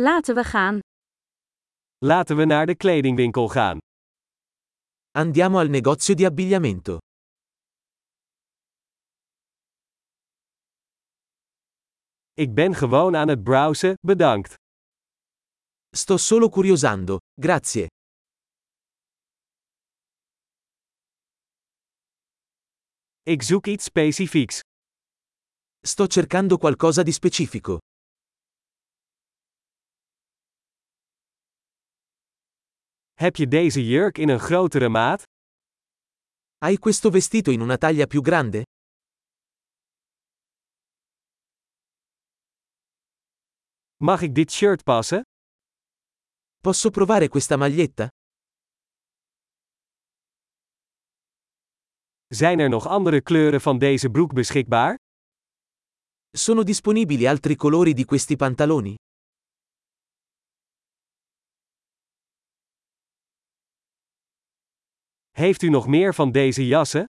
Laten we gaan. Laten we naar de kledingwinkel gaan. Andiamo al negozio di abbigliamento. Ik ben gewoon aan het browsen, bedankt. Sto solo curiosando, grazie. Ik zoek iets specifieks. Sto cercando qualcosa di specifico. Heb je deze jurk in een grotere maat? Hai questo vestito in una taglia più grande? Mag ik dit shirt passen? Posso provare questa maglietta? Zijn er nog andere kleuren van deze broek beschikbaar? Sono disponibili altri colori di questi pantaloni? Heeft u nog meer van deze jassen?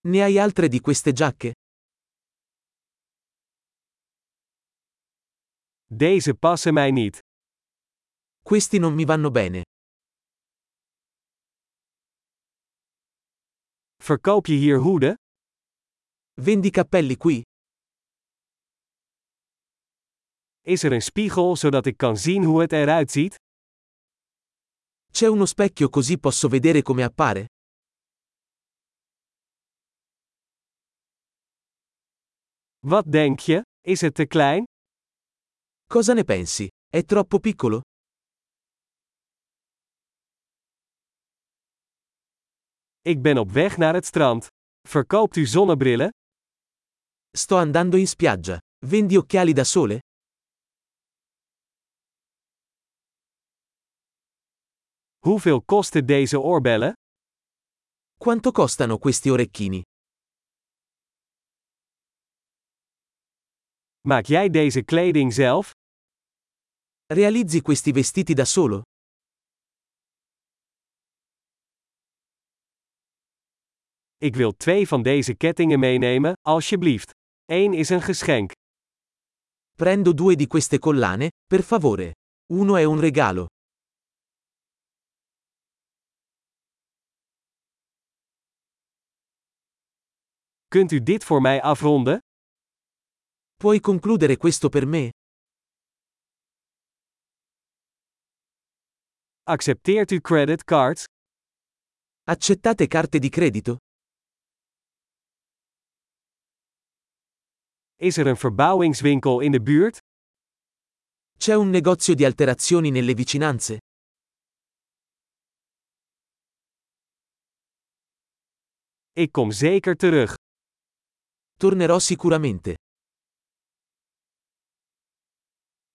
Ne hai altre di queste giacche? Deze passen mij niet. Questi non mi vanno bene. Verkoop je hier hoeden? Vendi cappelli qui? Is er een spiegel zodat ik kan zien hoe het eruit ziet? C'è uno specchio così posso vedere come appare? Wat denk je? Is het te klein? Cosa ne pensi? È troppo piccolo? Ik ben op weg naar het strand. Verkoopt u zonnebrillen? Sto andando in spiaggia. Vendi occhiali da sole? Hoeveel kosten deze oorbellen? Quanto costano questi orecchini? Maak jij deze kleding zelf? Realizzi questi vestiti da solo? Ik wil twee van deze kettingen meenemen, alsjeblieft. Eén is een geschenk. Prendo due di queste collane, per favore. Uno è un regalo. Kunt u dit voor mij afronden? Puoi concludere questo per me? Accepteert u creditcards? Accettate carte di credito? Is er een verbouwingswinkel in de buurt? C'è un negozio di alterazioni nelle vicinanze? Ik kom zeker terug. Tornerò sicuramente.